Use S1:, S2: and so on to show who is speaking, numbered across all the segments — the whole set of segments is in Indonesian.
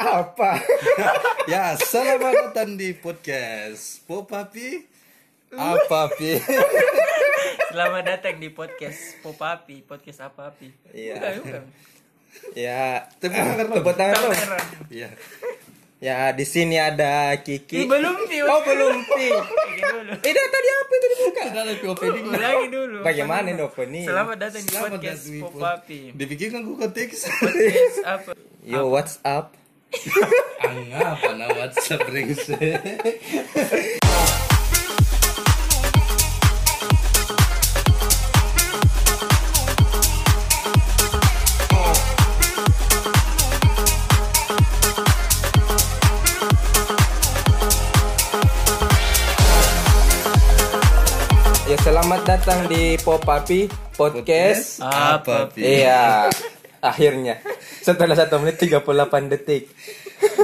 S1: Apa?
S2: Ya, selamat datang di podcast Popapi Apa Pi?
S3: Selamat datang di podcast Popapi, podcast apa api?
S2: Iya.
S3: Bukan, bukan.
S2: Ya, tepuk tangan dong. Tepuk tangan dong.
S3: Heran.
S2: Ya. Ya, di sini ada
S3: Ih,
S2: Kiki.
S3: belum Pi.
S2: Oh, belum Pi.
S3: Lagi dulu.
S2: Eh, dah tadi apa itu dibuka? ada opening.
S3: Lagi dulu.
S2: Bagaimana ini opening?
S3: Selamat datang di
S2: Selamat
S3: podcast
S2: datang di pod-
S3: Popapi.
S2: Dibikin kan gue konteks.
S3: Podcast apa?
S2: Yo, what's up? Apa nama WhatsApp brengsek?
S1: ya selamat datang di Popapi Podcast.
S3: Apa,
S2: Pi? Ya,
S1: Iya. Akhirnya setelah 1 menit 38 detik.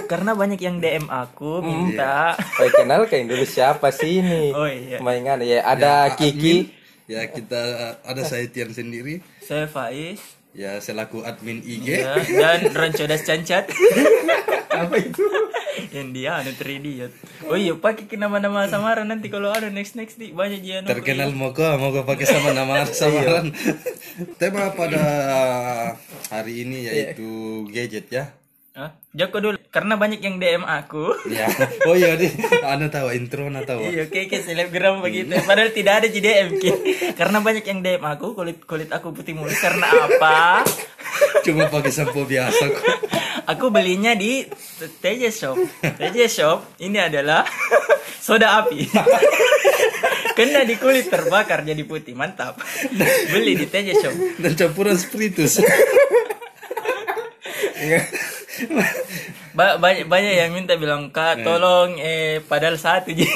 S3: Karena banyak yang DM aku
S2: Mm.
S3: minta
S2: Iya.
S1: Baik kenal kayak Eh, dulu siapa sih ini?
S3: Oh, iya.
S1: Mainan ya ada Kiki.
S2: Ya, kita ada saya Tian sendiri.
S3: saya Faiz
S2: Ya, selaku admin IG.
S3: ya, dan Rancodas Cancat
S1: Apa itu?
S3: yang dia anu 3D ya. Oh iya, pakai ke nama-nama samaran nanti kalau ada next next di banyak dia anu.
S2: terkenal mogok mogok pakai sama nama
S3: Iya.
S2: samaran tema pada hari
S3: Iya.
S2: ini yaitu gadget ya
S3: Hah? Joko dulu karena banyak yang DM aku.
S2: ya oh iya nih anu tahu intro na tahu
S3: Iya, oke, oke, selebgram gitu. begitu. Padahal tidak ada JDM, Ki. Karena banyak yang DM aku, kulit kulit aku putih mulu. Karena apa?
S2: cuma pakai sampo biasa kok
S3: Aku belinya di TJ Shop. TJ Shop ini adalah soda api. Kena di kulit terbakar jadi putih, mantap. Beli di TJ Shop.
S2: dan campuran spiritus
S3: Ba- banyak banyak yang minta bilang kak tolong eh padahal satu jadi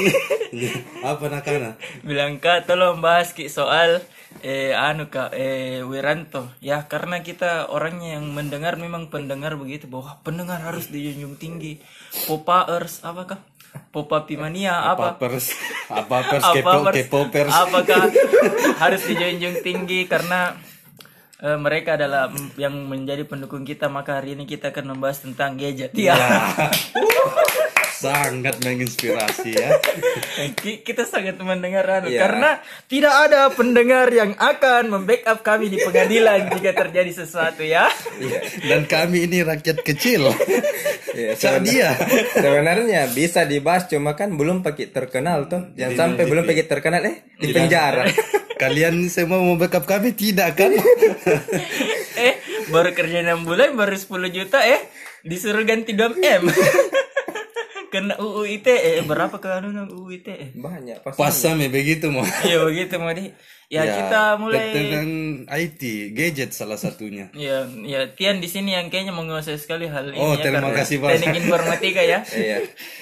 S2: Iya. apa nakana
S3: bilang kak tolong bahas ki soal eh anu kak eh Wiranto ya karena kita orangnya yang mendengar memang pendengar begitu bahwa pendengar harus dijunjung tinggi popaers apa kah popapi mania apa
S2: papers apa pers kepo
S3: pers-
S2: kepo pers
S3: apakah harus dijunjung tinggi karena eh, mereka adalah m- yang menjadi pendukung kita maka hari ini kita akan membahas tentang gadget
S2: Iya.
S3: ya
S2: sangat menginspirasi ya
S3: Ki- kita sangat mendengar anu, karena tidak ada pendengar yang akan membackup kami di pengadilan jika terjadi sesuatu ya
S2: Iya. dan kami ini rakyat kecil
S1: Iya,
S2: Cak Ya, dia
S1: Sebenarnya bisa dibahas cuma kan belum pakai terkenal tuh. Jangan sampai belum pakai terkenal eh di penjara.
S2: kalian semua mau backup kami tidak kan
S3: eh baru kerja 6 bulan baru 10 juta eh disuruh ganti 2 m kena UU ITE eh, berapa ke anu nang UU ITE
S1: Banyak pas.
S2: pas sampai begitu mau
S3: ya begitu mau di ya, kita mulai
S2: dengan IT gadget salah satunya
S3: Ya, ya Tian di sini yang kayaknya menguasai sekali hal ini
S2: Oh,
S3: ya,
S2: terima
S3: karena
S2: kasih, Pak.
S3: Teknik informatika ya.
S1: Iya.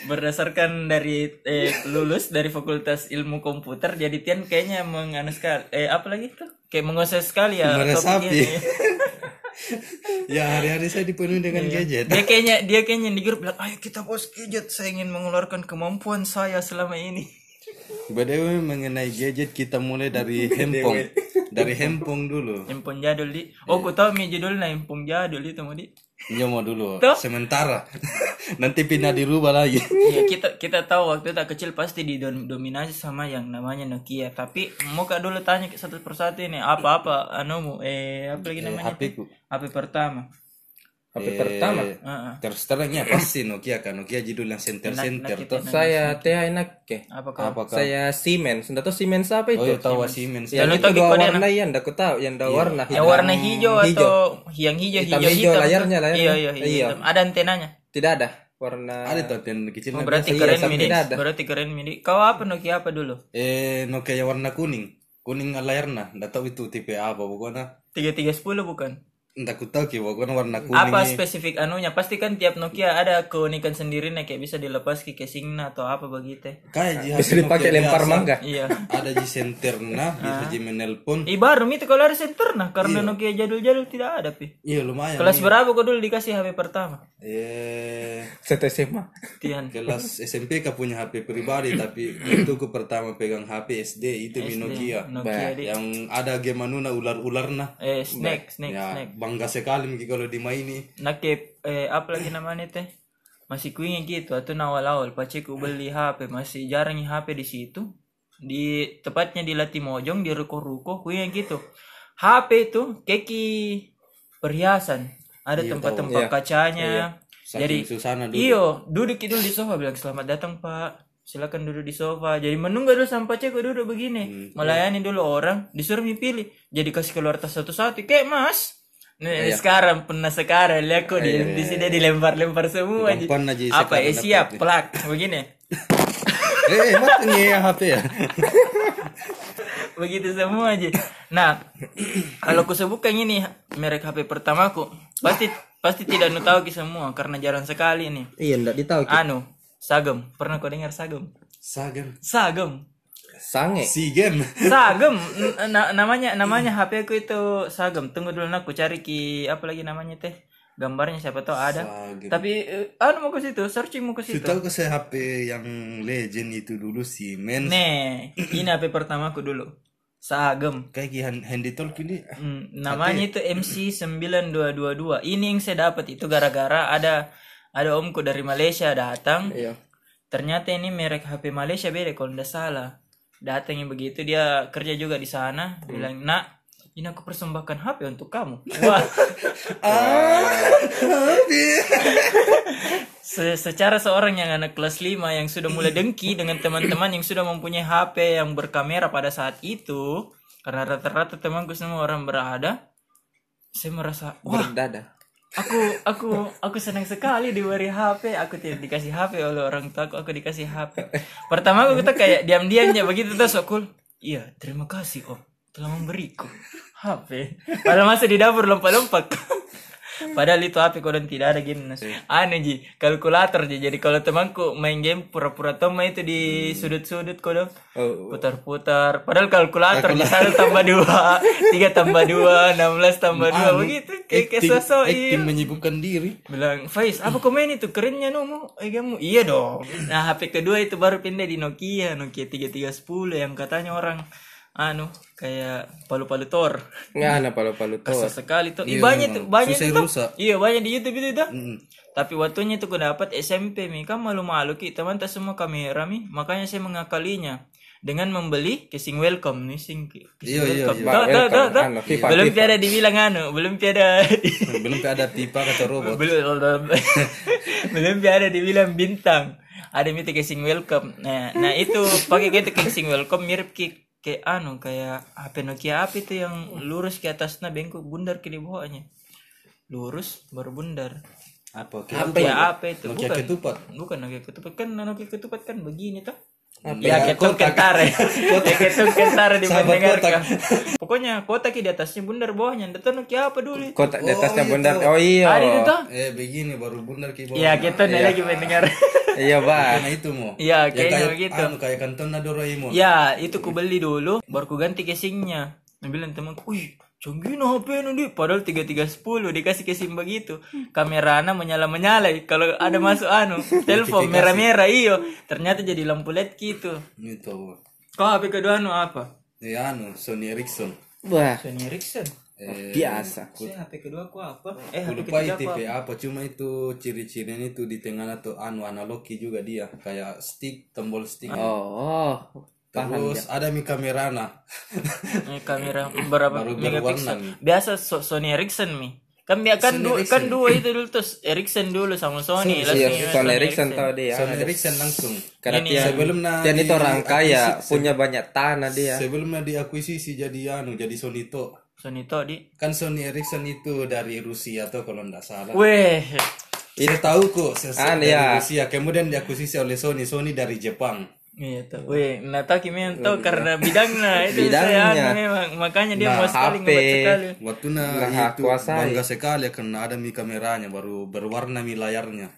S3: berdasarkan dari eh, lulus dari Fakultas Ilmu Komputer jadi Tian kayaknya menganu sekali eh apa lagi tuh kayak menguasai sekali ya
S2: Meresapi.
S3: topiknya.
S2: ya hari-hari saya dipenuhi dengan gadget
S3: dia kayaknya dia kayaknya di grup bilang ayo kita bos gadget saya ingin mengeluarkan kemampuan saya selama ini
S2: btw mengenai gadget kita mulai dari handphone dari handphone dulu
S3: handphone jadul di
S2: Iya.
S3: oh ku tahu mi judulnya handphone jadul itu mau di
S2: nyomo dulu
S3: Tuh.
S2: sementara nanti pindah dirubah lagi
S3: ya kita kita tahu waktu tak kecil pasti didominasi sama yang namanya Nokia tapi mau kak dulu tanya satu persatu ini apa apa anumu eh apa lagi namanya
S2: HP ku
S3: HP pertama
S1: HP pertama.
S2: Iya.
S3: Heeh.
S2: terus terangnya Eh, pasti Nokia kan Nokia judul yang center center tuh
S1: Saya teh enak ke.
S3: apa kau
S2: apa kau
S1: Saya Siemens. Ndak tahu Siemens apa
S2: oh
S1: itu?
S2: ya tahu Siemens
S1: Ya,
S3: Lalu
S1: itu
S3: togi
S1: dua
S3: kode
S1: warna ya, ndak ku tahu yang dua warna.
S3: Ya
S1: hitam.
S3: warna hijau, atau yang hijau
S1: Hitam,
S3: hijau,
S1: hijau,
S3: hitam.
S1: layarnya, layarnya.
S3: Iya iya, hijau,
S1: Iya.
S3: hitam. Ada antenanya.
S1: Tidak ada warna
S2: ada tuh yang kecil
S3: Oh, berarti
S1: biasa, iya,
S3: keren
S1: sampai
S3: midi.
S1: tidak ada.
S3: Berarti keren midi. Kau apa Nokia apa dulu?
S2: eh Nokia warna kuning kuning layarnya nggak tahu itu tipe apa pokoknya
S3: Tiga tiga sepuluh bukan?
S2: Entah ku tahu ki pokoknya warna kuning.
S3: Apa
S2: ni.
S3: spesifik anunya? Pasti kan tiap Nokia ada keunikan sendiri nih kayak bisa dilepas ke casingnya atau apa begitu.
S2: Kayak ji
S1: bisa
S2: hasil
S1: dipakai
S2: Nokia
S1: lempar
S2: biasa.
S1: mangga.
S3: Iya.
S2: Ada ji senterna,
S3: Ah.
S2: bisa ji menelpon.
S3: Ih baru itu kalau ada center nah karena
S1: Iya.
S3: Nokia jadul-jadul tidak ada pi.
S2: Iya lumayan.
S3: Kelas berapa kau dulu dikasih HP pertama?
S2: Eh
S1: Satu SMA.
S3: Tian.
S2: kelas SMP kau punya HP pribadi tapi itu ku pertama pegang HP SD itu mi Nokia.
S3: Nokia di
S2: Yang ada game anu anuna ular-ularna.
S3: eh snack snack
S2: Ya,
S3: snack.
S2: bangga sekali mi kalau dimaini.
S3: Nakep eh apa lagi namanya teh? masih kuingin gitu atau awal-awal paciku
S1: Eh.
S3: beli HP masih jarang HP di situ di tepatnya di Latimojong di ruko-ruko kuingin gitu HP itu keki perhiasan ada tempat-tempat
S1: Iya.
S3: kacanya
S2: Saking
S3: jadi
S2: susana duduk.
S3: iyo duduk itu di sofa bilang selamat datang pak silakan duduk di sofa jadi menunggu dulu sampai ceko duduk
S2: Hmm, iya.
S3: begini melayani dulu orang disuruh pilih jadi kasih keluar tas satu-satu kayak mas Nih,
S2: Iya.
S3: sekarang pernah sekarang lihat kok di, di sini dilempar-lempar semua Ji.
S2: Gampang iya. aja
S3: apa
S2: sekarang
S3: ya siap plak begini
S2: eh mati nih ya HP ya
S3: begitu semua aja nah kalau aku sebutkan ini merek HP pertamaku pasti pasti tidak nu tahu ki semua karena jarang sekali nih
S1: Iya, ndak ditahu. Ki.
S3: anu sagem pernah kau dengar sagem
S2: sagem
S3: sagem
S1: Sange.
S2: si game
S3: sagem N- na- namanya namanya HP aku itu sagem tunggu dulu nak aku cari ki apa lagi namanya teh gambarnya siapa tahu ada
S2: Sagem.
S3: tapi eh, anu mau ke situ searching mau ke situ
S2: tahu ke saya HP yang legend itu dulu si men
S3: nih ini HP pertamaku dulu sagem
S2: kayak ki hand- handy talk ini
S3: Hmm, namanya itu MC9222. Ini yang saya dapat itu gara-gara ada ada omku dari Malaysia datang.
S1: Iya.
S3: Ternyata ini merek HP Malaysia beda kalau nggak salah. Datangnya begitu dia kerja juga di sana, bilang, "Nak, ini aku persembahkan HP untuk kamu." Wah, se- secara seorang yang anak kelas 5 yang sudah mulai dengki dengan teman-teman yang sudah mempunyai HP yang berkamera pada saat itu, karena rata-rata temanku semua orang berada, saya merasa, "Wah,
S1: Berdada.
S3: aku aku aku senang sekali diberi HP aku tidak dikasih HP oleh orang tua aku aku dikasih HP pertama aku tuh kayak diam diamnya begitu terus aku iya terima kasih om telah memberiku HP padahal masih di dapur lompat lompat padahal itu HP kau dan tidak ada game Nas. aneh ji kalkulator ji jadi kalau temanku main game pura-pura toma itu di sudut-sudut kau dong
S1: Oh,
S3: putar-putar padahal kalkulator di sana tambah dua tiga tambah dua enam belas tambah dua begitu gitu? kayak kayak
S2: Ah, Acting-
S3: sosok iya.
S2: acting menyibukkan diri
S3: bilang Faiz apa kau main itu kerennya nomo eh kamu iya dong nah HP kedua itu baru pindah di Nokia Nokia 3310 yang katanya orang anu kayak palu-palu tor
S1: nggak ada palu-palu tuh.
S3: kesel sekali tuh Ih, banyak tuh banyak
S2: Susah
S3: itu
S2: Iya, rusak.
S3: iya banyak di YouTube itu dah tapi waktunya tuh gue dapat SMP mi kan malu-malu ki teman tak semua kamera mi makanya saya mengakalinya dengan membeli casing welcome nih sing
S2: Iya, iya, kan,
S3: welcome Dah,
S1: iya.
S3: dah, dah,
S1: Welcome,
S3: dah.
S1: anu, FIFA,
S3: belum
S1: FIFA.
S3: tiada dibilang anu belum tiada
S2: iya. belum ada pipa kata robot
S3: belum belum belum ada dibilang bintang ada mito casing welcome nah nah itu pakai gitu casing welcome mirip ki kayak anu kayak HP Nokia apa itu yang lurus ke atasnya bengkok bundar ke di bawahnya lurus baru bundar
S2: apa
S3: apa
S2: ketupat?
S3: ya apa itu
S2: Nokia
S3: bukan
S2: ketupat
S3: bukan Nokia ketupat kan Nokia ketupat kan begini tuh
S1: Apa
S3: ya ketuk kentare ya ketuk kentare di
S2: Sahabat
S3: pendengar
S2: kotak.
S3: pokoknya kotak di atasnya bundar bawahnya itu Nokia apa dulu
S1: Kotak di atasnya
S2: Oh,
S1: bundar.
S2: itu.
S1: Oh iya.
S3: ada Ah, itu tuh
S2: eh begini baru bundar ki bawah.
S3: ya kita nih lagi pendengar
S1: Iya, Bang.
S2: karena itu mau
S3: Iya, kayaknya begitu.
S2: anu, kayak kantong ada Doraemon
S3: Ya, itu ku beli dulu, baru ku ganti casingnya. Nah, bilang temanku, wih, canggih nah HP ini, Di." Padahal 3310 dikasih casing begitu. Kamera ana menyala-menyala. Kalau ada masuk anu, telepon merah-merah iyo. Ternyata jadi lampu LED gitu.
S2: itu
S3: Kau HP kedua anu apa?
S2: ya anu Sony Ericsson
S1: Wah,
S3: Sony Ericsson.
S2: eh
S1: biasa.
S3: Saya HP kedua aku apa? Eh,
S2: aku lupa
S3: HP ketiga aku
S2: tipe apa cuma itu ciri-cirinya itu di tengah atau anu analogi juga dia kayak stick tombol stick
S1: Oh,
S2: terus ada mi kamera nah
S3: apa? Eh, kamera berapa
S2: Baru- baru warna nih.
S3: megapiksel? Biasa so- Sony Ericsson mi. Kan kan dua, kan dua itu dulu terus Ericsson dulu sama Sony. lah
S1: Iya,
S3: Sony-
S1: Sony Ericsson tahu dia.
S2: Sony Ericsson langsung
S1: Karena
S3: Ini
S1: dia
S2: sebelum na-
S1: dia Iya. itu
S2: di-
S1: orang kaya, ya, punya banyak tanah dia.
S2: sebelumnya diakuisisi jadi anu jadi Sony to
S3: Sony toh di
S2: kan Sony Ericsson itu dari Rusia tuh kalau nggak salah
S3: Weh,
S1: Iya.
S2: itu tahu kok ses-
S1: An,
S2: dari
S1: ya.
S2: Rusia kemudian diakuisisi oleh Sony Sony dari Jepang
S3: itu. Weh, Gitu. Nata Kimi yang tahu karena bidangnya itu
S1: Bidangnya.
S3: saya anu memang makanya dia
S2: Nah,
S3: mau sekali
S1: HP.
S3: ngebuat sekali.
S2: waktu na
S1: Nah,
S2: itu
S1: kuasai.
S2: bangga sekali karena ada mi kameranya baru berwarna mi layarnya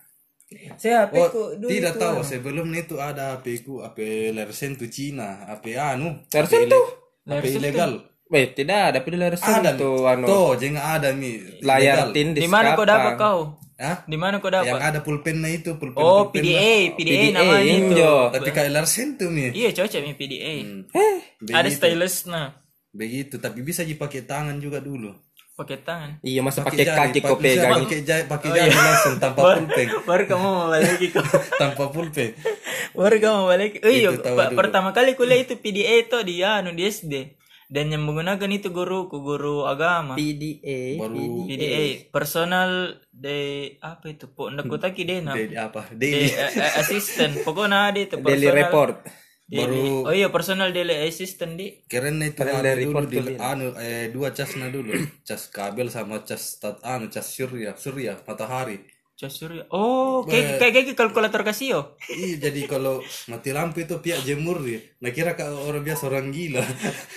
S3: Saya HP
S2: Oh,
S3: ku dulu
S2: tidak
S3: itu.
S2: tahu sebelum itu ada HP ku HP Lersen tuh Cina HP anu HP
S1: Lersen
S2: ile-
S1: tuh?
S2: HP ilegal
S1: Weh, tidak ada pilihan Ericsson
S2: ada
S1: tuh anu
S2: tuh jenga ada mi ilegal.
S1: layar tin di
S3: Di mana kau dapat
S1: sekapang.
S3: kau?
S2: Hah?
S3: Di mana kau
S2: yang
S3: dapat?
S2: ada pulpennya itu pulpen
S3: Oh,
S2: pulpen
S3: PDA, PDA,
S1: PDA,
S3: namanya itu.
S1: Eh, injo.
S2: tapi kayak Lersen tuh mi
S3: Iya, cocok nih PDA.
S1: Eh,
S3: Ada stylus nah.
S2: begitu tapi bisa dipakai tangan juga dulu
S3: pakai tangan
S1: Iya masa pakai kaki kau pegang.
S2: pakai jari pakai jari langsung tanpa pulpen
S3: baru kamu mau balik kau
S2: tanpa pulpen
S3: baru kamu balik eh
S2: Itu tawa dulu.
S3: pertama kali kuliah itu PDA itu di anu di SD dan yang menggunakan itu guruku guru agama
S1: PDA.
S2: baru
S3: PDA personal de apa itu pondok kotaki dena
S2: daily apa
S3: de
S2: daily
S3: a- a- Iya, eh, assistant pokoknya ada itu
S1: Daily
S3: personal
S1: report.
S3: daily. oh iya personal daily assistant di
S2: keren itu anu dulu di anu eh dua casnya dulu cas kabel sama cas tat anu cas surya surya matahari
S3: Casur oh
S1: Nah.
S3: kayak kayak kayak kalkulator Casio
S2: Iya jadi kalau mati lampu itu pihak jemur ya. Nah kira kalau orang biasa orang gila.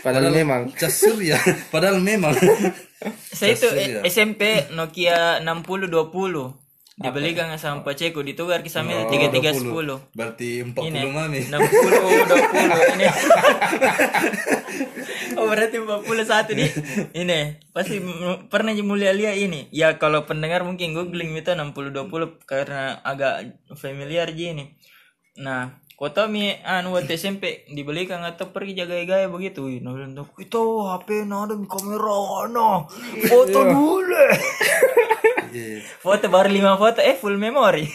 S1: Padahal memang.
S2: Cas surya. Padahal memang. ya.
S3: saya itu
S1: iya.
S3: eh, SMP Nokia 6020 dibelikan sama Pak Ceko ditugar
S1: Oh,
S3: kisahnya eh, tiga tiga
S2: Oh,
S3: sepuluh ya. Nah.
S2: Berarti 40 mami.
S3: enam puluh dua puluh ini oh berarti empat puluh satu nih ini pasti m- pernah mulia lia ini ya kalau pendengar mungkin googling itu enam puluh dua puluh karena agak familiar ji ini nah kota mi anu waktu SMP dibelikan atau pergi jaga-jaga begitu Wih, nah bilang tuh, itu HP nah ada mi kamera nah foto dulu
S2: Iya.
S3: foto baru lima foto eh full memory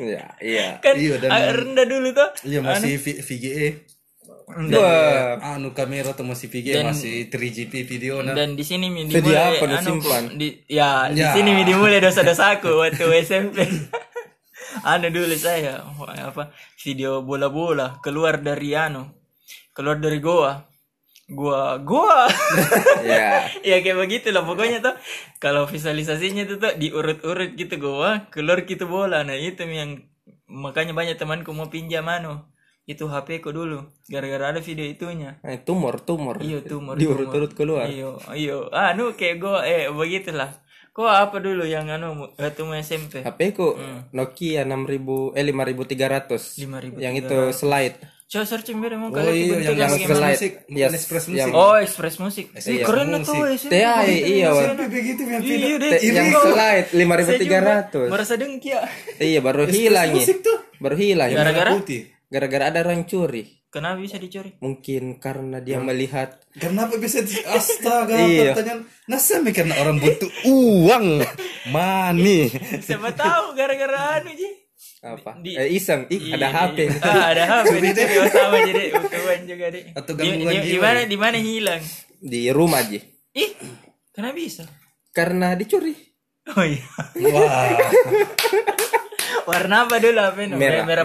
S1: Iya, iya.
S3: kan
S2: Iya, dan-
S3: agak rendah dulu tuh
S2: Iya masih V- VGA.
S1: Wah,
S2: Anu kamera tuh masih VGA masih 3GP video nah.
S3: Dan di sini mi
S1: Jadi
S3: dimulai
S1: apa, udah
S3: anu,
S1: simpan?
S3: Di, ya, di
S2: Ya.
S3: sini mi dimulai dosa-dosaku waktu SMP. anu dulu saya wah, apa video bola-bola keluar dari anu keluar dari goa gua gua
S1: Iya.
S3: ya kayak begitu lah pokoknya tuh kalau visualisasinya tuh tuh diurut-urut gitu gua keluar gitu bola nah itu mi yang makanya banyak temanku mau pinjam anu itu HP ku dulu gara-gara ada video itunya
S1: Eh, tumor, tumor.
S3: Iya tumor.
S1: Diurut-urut
S3: tumor.
S1: keluar.
S3: Iya, iya. Anu kayak gua eh begitulah. Kok apa dulu yang anu mu- waktu mau SMP?
S1: HP ku
S3: Hmm.
S1: Nokia 6000 eh 5300.
S3: 5300.
S1: Yang itu slide.
S3: Coba searching biar mau
S2: Oh
S3: kali.
S2: iya yang yang
S1: Yang slide.
S2: musik,
S1: Yes, iya,
S2: bukan express
S1: yang-
S2: musik.
S3: Oh, Express Music. Ih,
S2: Iya,
S3: keren tuh
S2: musik.
S3: SMP.
S1: TI, iya. Wan.
S2: Tapi begitu yang
S3: Iya, deh.
S1: Te- Yang slide
S3: Saya juga
S1: 5300.
S3: Merasa dengki ya.
S1: Iya, baru hilang. ya.
S2: musik tuh.
S1: Baru hilang. ya.
S3: Gara-gara
S2: putih.
S1: Gara-gara ada orang curi.
S3: kenapa bisa dicuri?
S1: Mungkin karena
S3: Iya.
S1: dia melihat
S2: Kenapa bisa di astaga
S1: Iya.
S2: pertanyaan? Nah, saya mikir nah, orang butuh uang, money.
S3: Siapa tahu gara-gara anu Ji.
S1: apa?
S3: Di-
S1: eh, iseng. Ih, ada
S3: Iya,
S1: HP.
S3: iya. Ah, ada HP. Itu sama jadi kawan juga deh.
S2: Atau
S3: Di-
S2: gangguan
S3: di-
S2: jiwa.
S3: Di mana di mana hilang?
S1: Di rumah aja.
S3: Ih, kenapa bisa?
S1: Karena dicuri.
S3: Oh iya.
S2: Wah.
S3: Warna apa dulu apa ini?
S1: Merah, merah,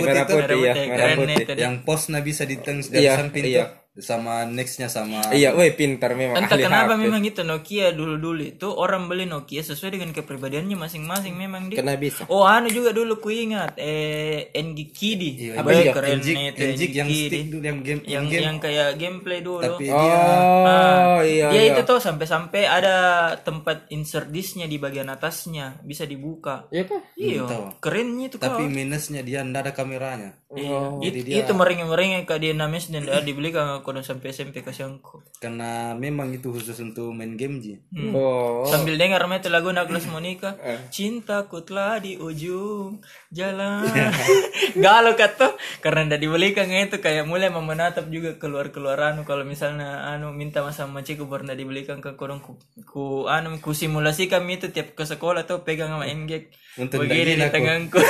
S2: putih,
S1: merah
S2: itu
S1: putih, ya,
S3: putih.
S1: merah
S3: Keren
S1: putih.
S3: itu.
S2: yang posnya bisa diteng dari
S1: Iya,
S2: samping
S1: iya.
S2: tuh. sama nextnya sama
S1: Iya, weh pintar memang.
S3: Ah. Entah
S1: ahli
S3: kenapa
S1: HP.
S3: memang gitu Nokia dulu-dulu itu orang beli Nokia sesuai dengan kepribadiannya masing-masing memang dia.
S1: Kena bisa.
S3: Oh anu juga dulu ku ingat eh NG Kidi.
S2: apa
S3: Wah,
S2: ya
S3: keren
S2: enjik
S3: itu
S2: enjik yang
S3: NGKD.
S2: stick dulu yang game
S3: yang
S2: game
S3: yang kayak gameplay dulu.
S2: tapi dia
S1: Oh, iya.
S3: ya
S1: iya.
S3: itu tuh sampai-sampai ada tempat insert disknya di bagian atasnya bisa dibuka.
S1: Iya kah?
S3: Iya,
S2: tahu.
S3: kerennya itu
S2: tapi
S3: kau.
S2: minusnya dia ndak ada kameranya Oh,
S3: Iya, It- itu merengek-merengek kak dia namis dan dia dibeli kak kodong sampai SMP kasihanku.
S2: karena memang itu khusus untuk main game ji
S3: Hmm.
S1: Oh. Eh.
S3: Sambil dengar met lagu Naglas Monica, cintaku telah di ujung jalan. Galau kata karena udah dibelikan kayak itu kayak mulai mau menatap juga keluar keluar anu kalau misalnya anu minta mas sama cikgu pernah dibelikan ke kurung ku, ku anu ku simulasikan itu tiap ke sekolah tuh pegang sama engek
S2: Untuk
S3: begini
S2: daging
S3: di
S2: aku.
S3: tanganku.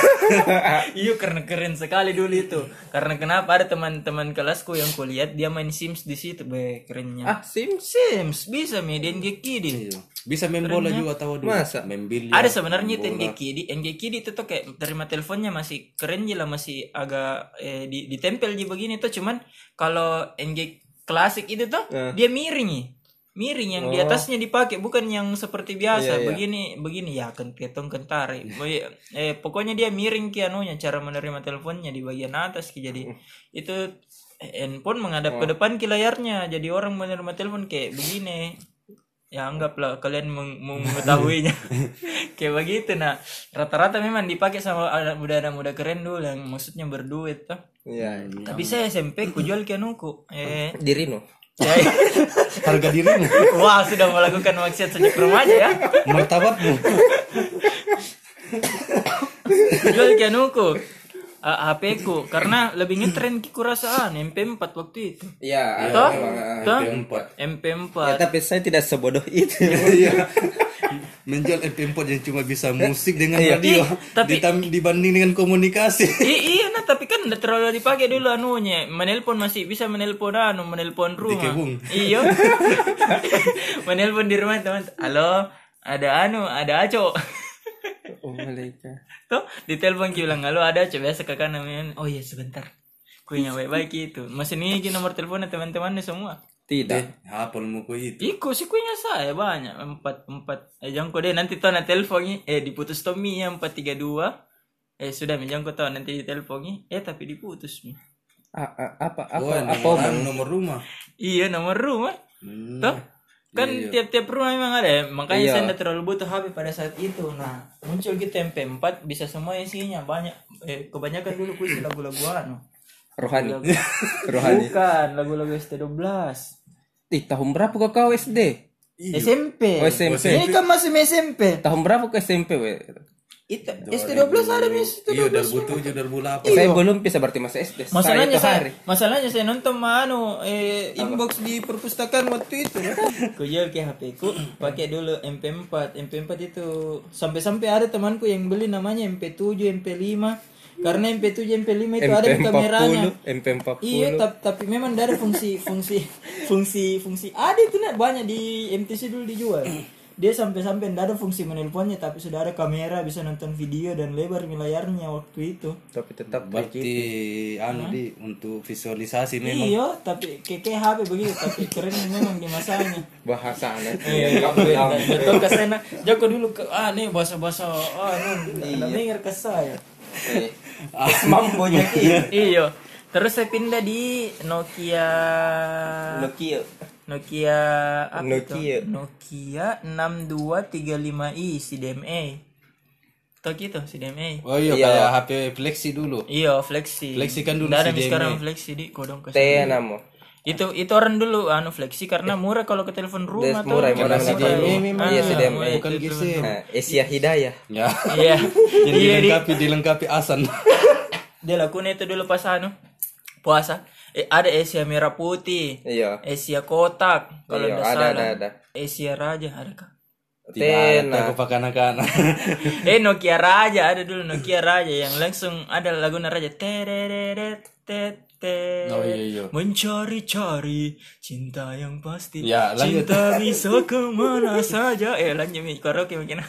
S3: iya karena keren sekali dulu itu. Karena kenapa ada teman-teman kelasku yang kulihat dia main Sims di situ, be kerennya.
S1: Ah, Sims.
S3: Sims bisa mi dan kiri.
S2: Iya. bisa main bola
S3: ya.
S2: juga tahu dulu
S1: Masa?
S2: main biliar
S3: Ada sebenarnya itu NGK di NGK di itu tuh kayak terima teleponnya masih keren je lah masih agak eh, di, ditempel di begini tuh cuman kalau NG klasik itu tuh dia miring ya. miring yang di atasnya dipakai bukan yang seperti biasa begini begini ya kan ketong kentari Boy, eh pokoknya dia miring ki anunya cara menerima teleponnya di bagian atas ki jadi itu handphone menghadap ke depan ki layarnya jadi orang menerima telepon kayak begini ya anggaplah kalian meng- meng- mengetahuinya kayak begitu nah rata-rata memang dipakai sama anak muda anak muda keren dulu yang maksudnya berduit tuh
S1: Iya.
S3: tapi saya SMP ku jual kianuku eh
S1: Di Rino.
S3: saya
S2: harga dirimu
S3: wah sudah melakukan maksiat sejak remaja ya
S2: martabatmu
S3: jual kianuku ah, HP ku karena lebih ngetren ku rasa ah, MP4 waktu itu.
S1: Iya, ada
S3: Toh?
S1: memang, ah.
S3: Toh?
S2: MP4.
S1: Ya,
S3: MP4.
S1: tapi saya tidak sebodoh itu.
S2: Iya. Menjual MP4 yang cuma bisa musik dengan
S1: Iya.
S2: radio
S3: Ih, tapi-
S2: ditam- dibanding dengan komunikasi.
S3: I- iya nah tapi kan udah terlalu dipakai dulu anunya menelpon masih bisa menelpon anu menelpon rumah
S2: kebun.
S3: iya menelpon di rumah teman halo ada anu ada aco
S1: oh my God.
S3: tuh ditelepon ki bilang halo ada aco biasa kakak namanya oh iya sebentar ku ingat baik-baik itu masih nih ki nomor teleponnya teman-temannya semua
S1: Tidak.
S2: Apa muku itu?
S3: Iku sih kuenya saya banyak empat empat eh jangko deh nanti tau nanti teleponnya eh diputus Tommy ya empat tiga dua eh sudah mi jangko tau nanti diteleponnya eh tapi diputus mi
S1: A- a- apa apa
S2: Wah,
S1: apa
S2: nomor,
S1: Bang?
S2: nomor rumah.
S3: iya nomor rumah
S2: Hmm.
S3: toh kan tiap-tiap rumah memang ada ya makanya
S1: Iya.
S3: saya tidak terlalu butuh HP pada saat itu nah muncul gitu MP4 bisa semua isinya banyak eh kebanyakan dulu puisi lagu-lagu anu
S1: rohani
S3: Lagu-
S1: rohani
S3: bukan lagu-lagu ST12
S1: Ih, tahun berapa kau kau SD
S3: SMP.
S1: Oh, SMP.
S3: Ini kan masih SMP.
S1: tahun berapa kau SMP we?
S3: Itu ST12 ada mis
S2: Iya, 2007, 2008.
S3: Iya.
S1: saya belum bisa berarti masih SD saya
S3: Masalahnya
S1: itu
S3: saya,
S1: hari
S3: masalahnya saya nonton mano eh, inbox di perpustakaan waktu itu. ku jual ke HP ku, pakai dulu MP4. MP4 itu sampai-sampai ada temanku yang beli namanya MP7, MP5. Karena MP7, MP5 itu ada di kameranya.
S1: MP40 MP40
S3: Iya, tapi, tapi memang dari fungsi fungsi fungsi fungsi ada itu nak banyak di MTC dulu dijual. Dia sampai-sampai ndak ada fungsi menelponnya tapi sudah ada kamera bisa nonton video dan lebar layarnya waktu itu.
S1: tapi tetap
S2: Berarti anu di untuk visualisasi memang
S3: Iya, tapi keke HP begitu, tapi keren memang di masanya.
S1: bahasa aneh
S3: Betul ke sana. Joko dulu ke ah nih bahasa-bahasa ah nih denger ke saya.
S1: mambonya
S3: Iya. Terus saya pindah di Nokia
S1: Nokia
S3: Nokia apa itu?
S1: Nokia.
S3: Nokia 6235i CDMA. Tuh gitu CDMA.
S2: Oh iya,
S1: Iya.
S2: kayak HP fleksi dulu.
S3: Iya, fleksi.
S2: Fleksi kan dulu
S3: Nggak ada
S2: CDMA.
S3: sekarang fleksi di kodong ke
S1: T namo
S3: Itu itu orang dulu anu fleksi karena murah kalau ke telepon rumah tuh.
S1: Ya. murah,
S3: Karena
S1: murah. CDMA
S3: Ah,
S1: memang. Iya, CDMA.
S3: murah
S2: Bukan
S3: itu telepon.
S2: GSM.
S1: Nah, Asia Hidayah
S2: Ya.
S3: Iya.
S2: Yang
S3: Iya, di-
S2: dilengkapi dilengkapi asan.
S3: dia lakukan itu dulu pas anu puasa. Eh, ada Asia merah putih,
S1: iya
S3: Asia kotak kalau
S1: Iya,
S3: nggak
S1: ada,
S3: salah.
S1: ada, ada.
S3: Asia raja ada kah?
S2: Tidak
S1: Tena.
S2: ada
S3: nah.
S2: kepakan anak-anak.
S3: eh Nokia Raja ada dulu Nokia Raja yang langsung ada lagu Raja Terererete
S2: Oh, iya, iya.
S3: Mencari-cari cinta yang pasti
S2: Ya, lanjut.
S3: Cinta bisa kemana saja Eh lanjut Mi karaoke mungkin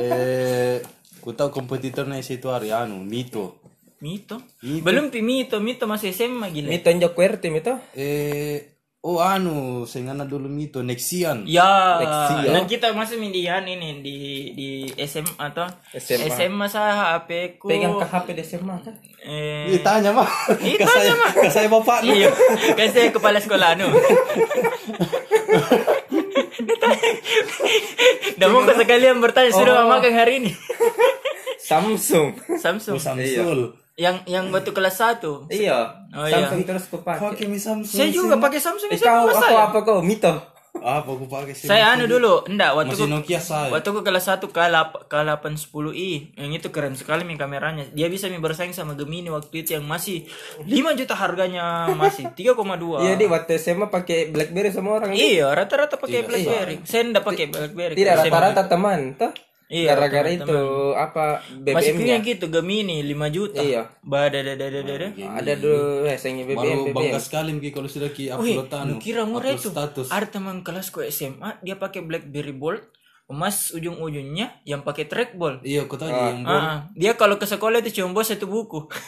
S2: eh, ku tahu kompetitornya situ hari anu Mito.
S3: Mito Belum Pi Mito Mito masih SMA gila
S1: Mito njok kuerti mito
S2: Eh, oh anu, sengana dulu Mito Nexian.
S3: Ya,
S1: Lexia.
S3: dan kita masih mindian ini di di SMA atau
S1: SMA.
S3: SMA saya HP ku
S1: pegang ke HP di SMA kan
S3: eh,
S2: Ih, Iya, tanya mah.
S3: Ih,
S2: Ke
S3: Iya, tanya,
S2: saya-
S3: mah.
S2: ke saya bapak
S3: Iya, kan saya kepala sekolah anu. Dah mau ke sekalian bertanya sudah oh. makan hari ini.
S1: Samsung
S3: Samsung.
S2: Samsul.
S3: Yang yang waktu kelas 1.
S1: iya
S3: Oh, iya.
S1: Samsung terus kupake
S2: Pakai mi Samsul.
S3: Saya juga pakai Samsung
S1: eh
S3: saya ya?
S1: kau
S3: kelas
S1: aku
S3: saya. Ah.
S1: apa kau Mito
S2: Apa aku pakai sih?
S3: Saya anu dulu, enggak waktu
S2: Masih
S3: ku-
S2: Nokia
S1: ya?
S2: saya.
S3: Waktu ku kelas 1 K8 K810i Yang itu keren sekali mi kameranya Dia bisa mi bersaing sama Gemini waktu itu yang masih 5 juta harganya Masih 3,2
S1: iya di waktu SMA pakai BlackBerry semua orang
S3: Iya, rata-rata pakai BlackBerry. Saya enggak pakai BlackBerry.
S1: iya. Tidak
S3: Saya-
S1: rata-rata teman tuh.
S3: Iya,
S1: Gara-gara itu apa
S3: Masih punya
S1: BBM-nya.
S3: gitu Gemini 5 juta.
S1: Iya.
S3: Badadadadadada.
S1: Ada dulu eh sayangnya BBM
S2: Baru
S1: BBM.
S2: bangga sekali Miki, kalau sudah ki
S3: Wih,
S2: upload anu.
S3: lu kira murah
S2: upload
S3: itu.
S2: Status.
S3: Ada teman kelasku SMA, dia pakai BlackBerry Bold, emas ujung-ujungnya yang pakai trackball.
S2: Iya, aku tahu yang baru.
S3: Ah, dia kalau ke sekolah itu cuma bawa satu buku.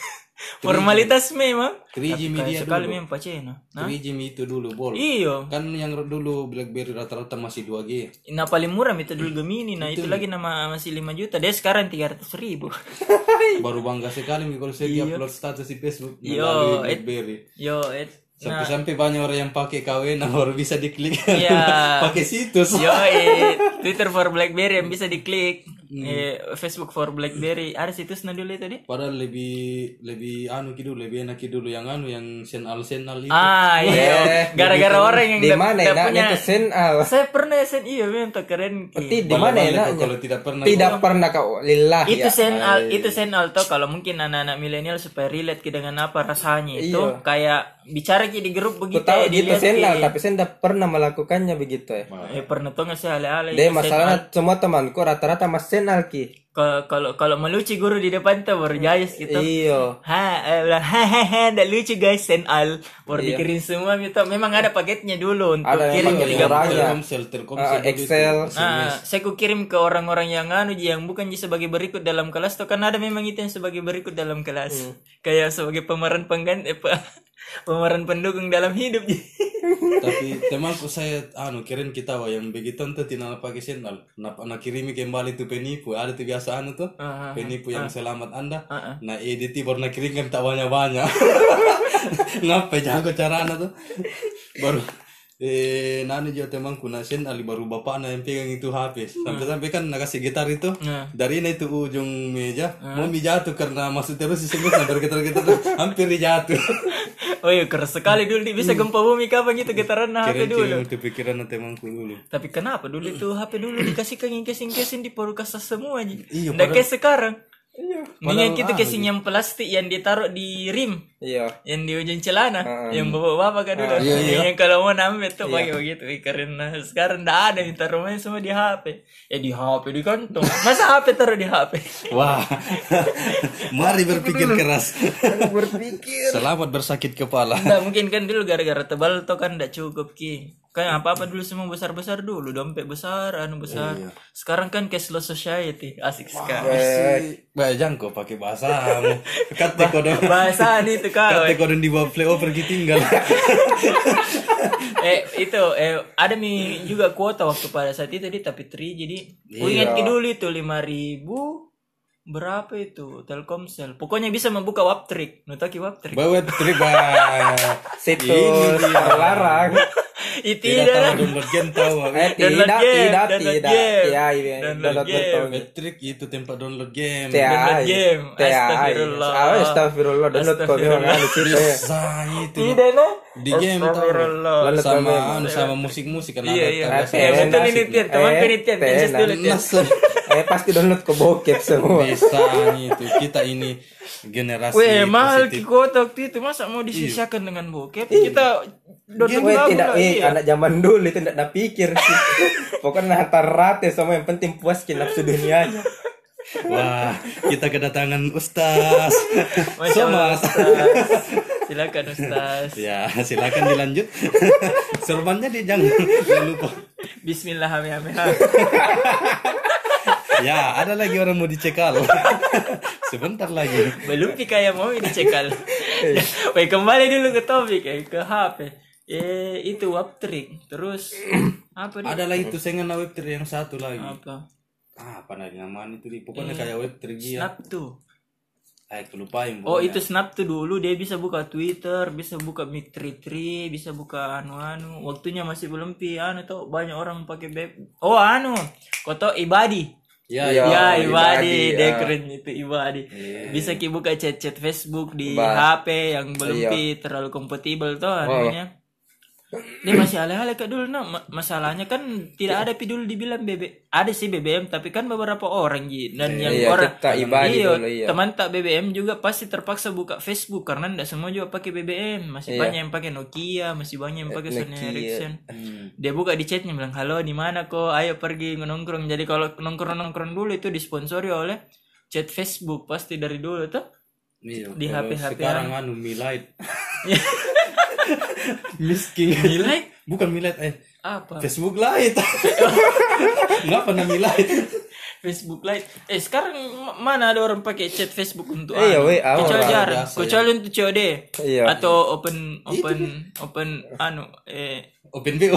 S3: Formalitas memang.
S2: 3G
S3: Kayak
S1: Iya,
S2: media
S3: sekali
S2: dulu.
S3: memang pacena. Nah,
S2: 3G itu dulu bol.
S3: iyo.
S2: Kan yang dulu BlackBerry rata-rata masih 2G.
S3: Nah paling murah itu dulu Gemini. Nah itu lagi nama masih 5 juta. Dia sekarang 300 ribu.
S2: Baru bangga sekali Miki, kalau saya ki upload status di Facebook
S3: Iya,
S2: melalui
S3: eh.
S2: BlackBerry.
S3: Yo, et. Nah,
S2: Sampai-sampai banyak orang yang pakai KW nah baru bisa diklik.
S3: Iya.
S2: pakai situs.
S3: Yo, Twitter for BlackBerry yang bisa diklik.
S1: Hmm.
S3: eh, Facebook for BlackBerry ada situsnya dulu tadi
S1: Eh,
S2: Padahal lebih lebih anu gitu, lebih enak dulu yang anu yang senal senal itu.
S3: ah iya gara-gara orang yang
S1: Di
S3: nggak-
S1: mana
S3: nggak
S1: enaknya
S3: punya Hmm.
S1: itu sen al?
S3: saya pernah sen iya memang keren Ki.
S1: Ti- Di mana
S2: Balik-balik
S1: enaknya?
S2: Kalau tidak pernah
S1: Tidak pernah kau lillah
S3: itu
S1: ya.
S3: sen al itu sen alto kalau mungkin anak-anak milenial supaya relate ke dengan apa rasanya itu kayak bicara ki di grup
S1: Ku
S3: begitu ya
S1: tahu Iya. gitu
S3: dilihat
S1: sen
S3: ki.
S1: al, tapi sen tidak pernah melakukannya begitu ya.
S3: eh pernah tuh nggak sih ale-ale itu sen
S1: Deh
S3: al.
S1: masalahnya semua temanku rata-rata mas sen al ki.
S3: Kalau- kalau kalau melucu guru di depan tuh baru jayus gitu
S1: Iya. Iyo.
S3: ha eh, bilang hahaha ndak lucu guys sen al baru dikirim semua gitu memang ada paketnya dulu untuk
S1: Iya. Ada
S3: kirim
S1: memang
S3: ke
S1: yang
S3: tiga
S1: orang-
S2: Telkomsel, Telkomsel.
S1: Ah, Excel.
S3: Nah, saya ku kirim ke orang-orang yang anu Ji, yang bukan Ji sebagai berikut dalam kelas tuh kan ada memang itu yang sebagai berikut dalam kelas.
S2: Hmm.
S3: Kayak sebagai pemeran pengganti eh, pe- pemeran pendukung dalam hidup Ji.
S2: Tapi temanku saya anu keren kita wah yang begitu tuh tidak pakai senal. Nak nak kirimi kembali tuh penipu. Ada tuh biasa anu tuh penipu yang selamat anda. Nah edit baru nak kirimkan tak banyak banyak. Ngapa jago cara anda tuh? Baru eh nani juga temanku nasen ali baru bapak yang pegang itu HP sampai sampai kan nak kasih gitar itu dari ini itu ujung meja mau mi jatuh karena masuk terus disebut nah, bergetar-getar hampir dia jatuh
S3: Oh iya, keras sekali dulu Ji.
S2: Hmm.
S3: bisa gempa bumi kapan gitu getaran HP dulu.
S2: Keren-keren itu pikiran temanku dulu.
S3: Tapi kenapa dulu itu HP dulu dikasih ke ngingkesin-ngingkesin di paru kasa semua Ji.
S2: Iya,
S3: Nggak kayak sekarang.
S2: Padahal
S3: Mendingan kita
S2: ah,
S3: casing yang plastik yang ditaruh di rim.
S1: Iyo.
S3: yang di ujung celana yang bapak-bapak kan udah yang kalau mau nambah tuh pakai begitu Ih, karena sekarang ndak ada minta rumahnya semua di HP ya di HP di kantong masa HP taruh di HP
S2: Wah, mari berpikir keras.
S1: Berpikir.
S2: Selamat bersakit kepala.
S3: nggak mungkin kan dulu gara-gara tebal tuh kan ndak cukup ki kan apa-apa dulu semua besar-besar dulu dompet besar anu besar sekarang kan cashless society asik sekali
S2: Baik, jangko pakai bahasamu. Kata kodon,
S3: bahasa nih tuh kau
S2: kata kodon di bawah playoff pergi tinggal.
S3: eh itu eh ada mi juga kuota waktu pada saat itu di tapi tri jadi ku
S2: Iya.
S3: ingat ke dulu itu lima ribu berapa itu Telkomsel pokoknya bisa membuka waptrik nutaki waptrik
S2: Bawa trip bah.
S1: Situs terlarang.
S3: itu
S2: Tidak tahu
S3: dah lah.
S2: download game tahu.
S1: Eh
S3: Download
S1: tidak
S3: game,
S1: tidak
S3: download
S1: tidak.
S3: game,
S1: Ya iya. Download betul.
S2: Patrick itu tempat download game.
S1: Download
S3: game. Astagfirullah.
S1: Oh, Astagfirullah. Download kau memang ada situ ya.
S2: Sah itu
S3: tidak nah
S2: di game tahu.
S3: Astagfirullah.
S2: Sama anu, sama musik-musik kan
S3: iya iya
S2: ada.
S3: eh betul ini tian teman
S1: Eh,
S3: ini tian
S1: tenan.
S3: Inces dulu tian
S2: Nasem.
S1: Eh pasti download ke bokep semua.
S2: Bisa itu kita ini generasi
S3: Weh, mahal
S2: positif. Iya.
S3: ki kuota waktu itu masa mau disisakan dengan bokep kita download
S1: Weh
S3: lagu
S1: tidak
S3: lah,
S1: eh
S3: iya.
S1: anak zaman dulu itu tidak ada pikir sih. Pokoknya hantar rate sama yang penting puas ke nafsu dunianya.
S2: Wah, kita kedatangan Ustaz.
S3: Masya Allah,
S2: Somas.
S3: Ustaz. Nah, silakan Ustaz
S2: Ya, silakan dilanjut. Sorbannya di jangan, jangan lupa.
S3: Bismillah hame hame
S2: Ya, ada lagi orang mau dicekal. Sebentar lagi.
S3: Belum pika yang mau ini cekal. Baik kembali dulu ke topik eh, ke HP. Eh itu waptrik. Terus apa nih?
S2: Ada lagi tuh sengan web tri yang satu lagi.
S3: Apa?
S2: Ah, apa nadi namanya itu? Di? Pokoknya kayak web gitu ya. tri dia.
S3: Snap tuh.
S2: Ay, kelupain.
S3: Oh itu snap tuh dulu dia bisa buka Twitter, bisa buka Mitri3, bisa buka anu-anu. Waktunya masih belum pi anu tuh banyak orang pakai beb. Oh anu, koto ibadi.
S2: Ya, ya.
S3: Ya,
S1: Iya. Oh,
S3: Ibadi,
S1: Ibadi,
S3: dia
S1: ya.
S3: keren itu Ibadi. Bisa ki buka chat-chat Facebook di
S1: Ba-
S3: HP yang belum
S1: Iya.
S3: pi terlalu kompatibel tuh anunya. Dia masih aleh-aleh kak dulu nah Ma- masalahnya kan tidak
S1: Iya.
S3: ada pi dulu dibilang BB. Ada sih BBM tapi kan beberapa orang Ji dan yang
S1: Iya,
S3: orang
S1: kita Ibadi
S3: Iya,
S1: dulu, iya.
S3: teman tak BBM juga pasti terpaksa buka Facebook karena tidak semua juga pakai BBM. Masih
S1: Iya.
S3: banyak yang pakai Nokia, masih banyak yang pakai Sony
S1: Nokia. Hmm.
S3: Ericsson dia buka di chatnya bilang halo di mana kok ayo pergi nongkrong jadi kalau nongkrong nongkrong dulu itu disponsori oleh chat Facebook pasti dari dulu tuh
S2: Iya,
S3: Di
S2: kalau
S3: HP-HP
S2: sekarang anu milite. Miskin.
S3: nilai
S2: Bukan milite, eh
S3: apa
S2: Facebook Lite. Enggak pernah milite.
S3: Facebook Lite eh sekarang ma- mana ada orang pakai chat Facebook untuk
S1: Iya,
S3: anu?
S1: weh, awal
S3: kecuali
S1: lah,
S3: jarang
S2: biasa,
S3: kecuali untuk COD
S1: Iya.
S3: atau open open open anu eh
S2: Open BO.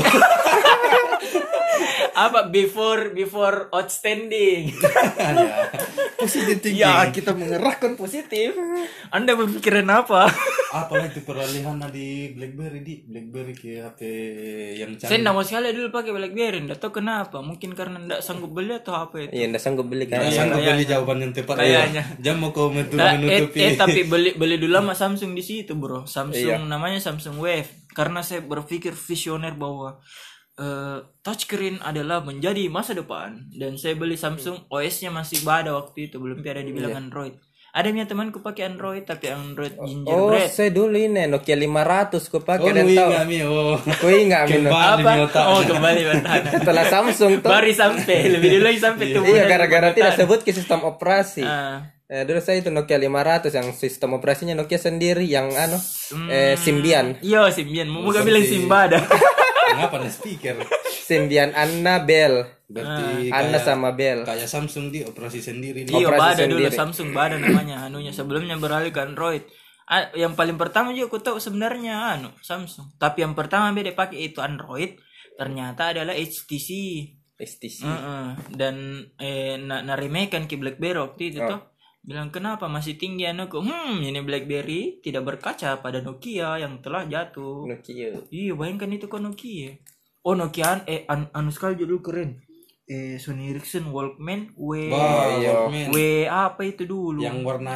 S3: apa before before outstanding
S2: ya. Positif thinking.
S3: Ya, kita mengerahkan positif. Anda berpikiran apa?
S2: Ah, apalagi peralihan di BlackBerry di BlackBerry ke HP yang
S3: Saya
S2: canggih.
S3: nama sekali dulu pakai BlackBerry, enggak tahu kenapa. Mungkin karena enggak sanggup beli atau apa itu.
S1: Iya, ndak sanggup beli kan.
S2: Nah, sanggup beli jawaban yang tepat. iya.
S3: Kayaknya.
S2: Jam mau kau menutup
S3: Nah, eh,
S2: menutupi.
S3: eh, tapi beli beli dulu sama Samsung di situ, Bro.
S1: Iya.
S3: Samsung namanya Samsung Wave. Karena saya berpikir visioner bahwa eh, touchscreen adalah menjadi masa depan dan saya beli
S1: Iya.
S3: Samsung OS-nya masih ada waktu itu, belum ada dibilang Android. Ada punya temanku pakai Android tapi Android
S1: Oh,
S3: gingerbread.
S1: saya dulu ini Nokia 500
S2: Oh,
S1: ku pakai
S2: lu
S1: dan
S3: iya.
S1: tahu.
S2: ingat mi? Oh.
S1: Ku ingat Min.
S2: Kembali
S3: apa?
S2: mi otak.
S3: Oh, kembali bertahan.
S1: Setelah Samsung tuh.
S3: Baru sampai, lebih dulu lagi sampai tubuh.
S1: Iya, gara-gara tidak sebut ke sistem operasi.
S3: Ah.
S1: Eh, dulu saya itu Nokia 500 yang sistem operasinya Nokia sendiri yang anu
S3: Hmm.
S1: eh, Symbian.
S3: Yo, iya, Simbian, mau gak
S1: Iya,
S3: bilang Simba dah.
S2: Kenapa nih speaker?
S1: Symbian Anna Bell.
S3: Ah.
S2: Berarti
S1: Anna sama Bell.
S2: kayak Samsung di operasi sendiri.
S3: Iya,
S1: Operasi
S3: Bada dulu
S1: sendiri.
S3: Samsung Bada namanya anunya sebelumnya beralih ke Android. Ah, yang paling pertama juga aku tahu sebenarnya anu Samsung. Tapi yang pertama beda pakai itu Android ternyata adalah HTC.
S1: STC.
S3: Heeh. Dan eh na, na remake kan ke BlackBerry waktu
S1: Oh.
S3: itu tuh. Bilang kenapa masih tinggi anuku? Hmm, ini BlackBerry tidak berkaca pada Nokia yang telah jatuh.
S1: Nokia.
S3: Iya bayangkan itu kan Nokia Oh Nokia eh an anu sekali judul keren eh Sony Ericsson Walkman W
S2: Wah,
S1: iya.
S2: Walkman.
S3: W apa itu dulu
S2: yang warna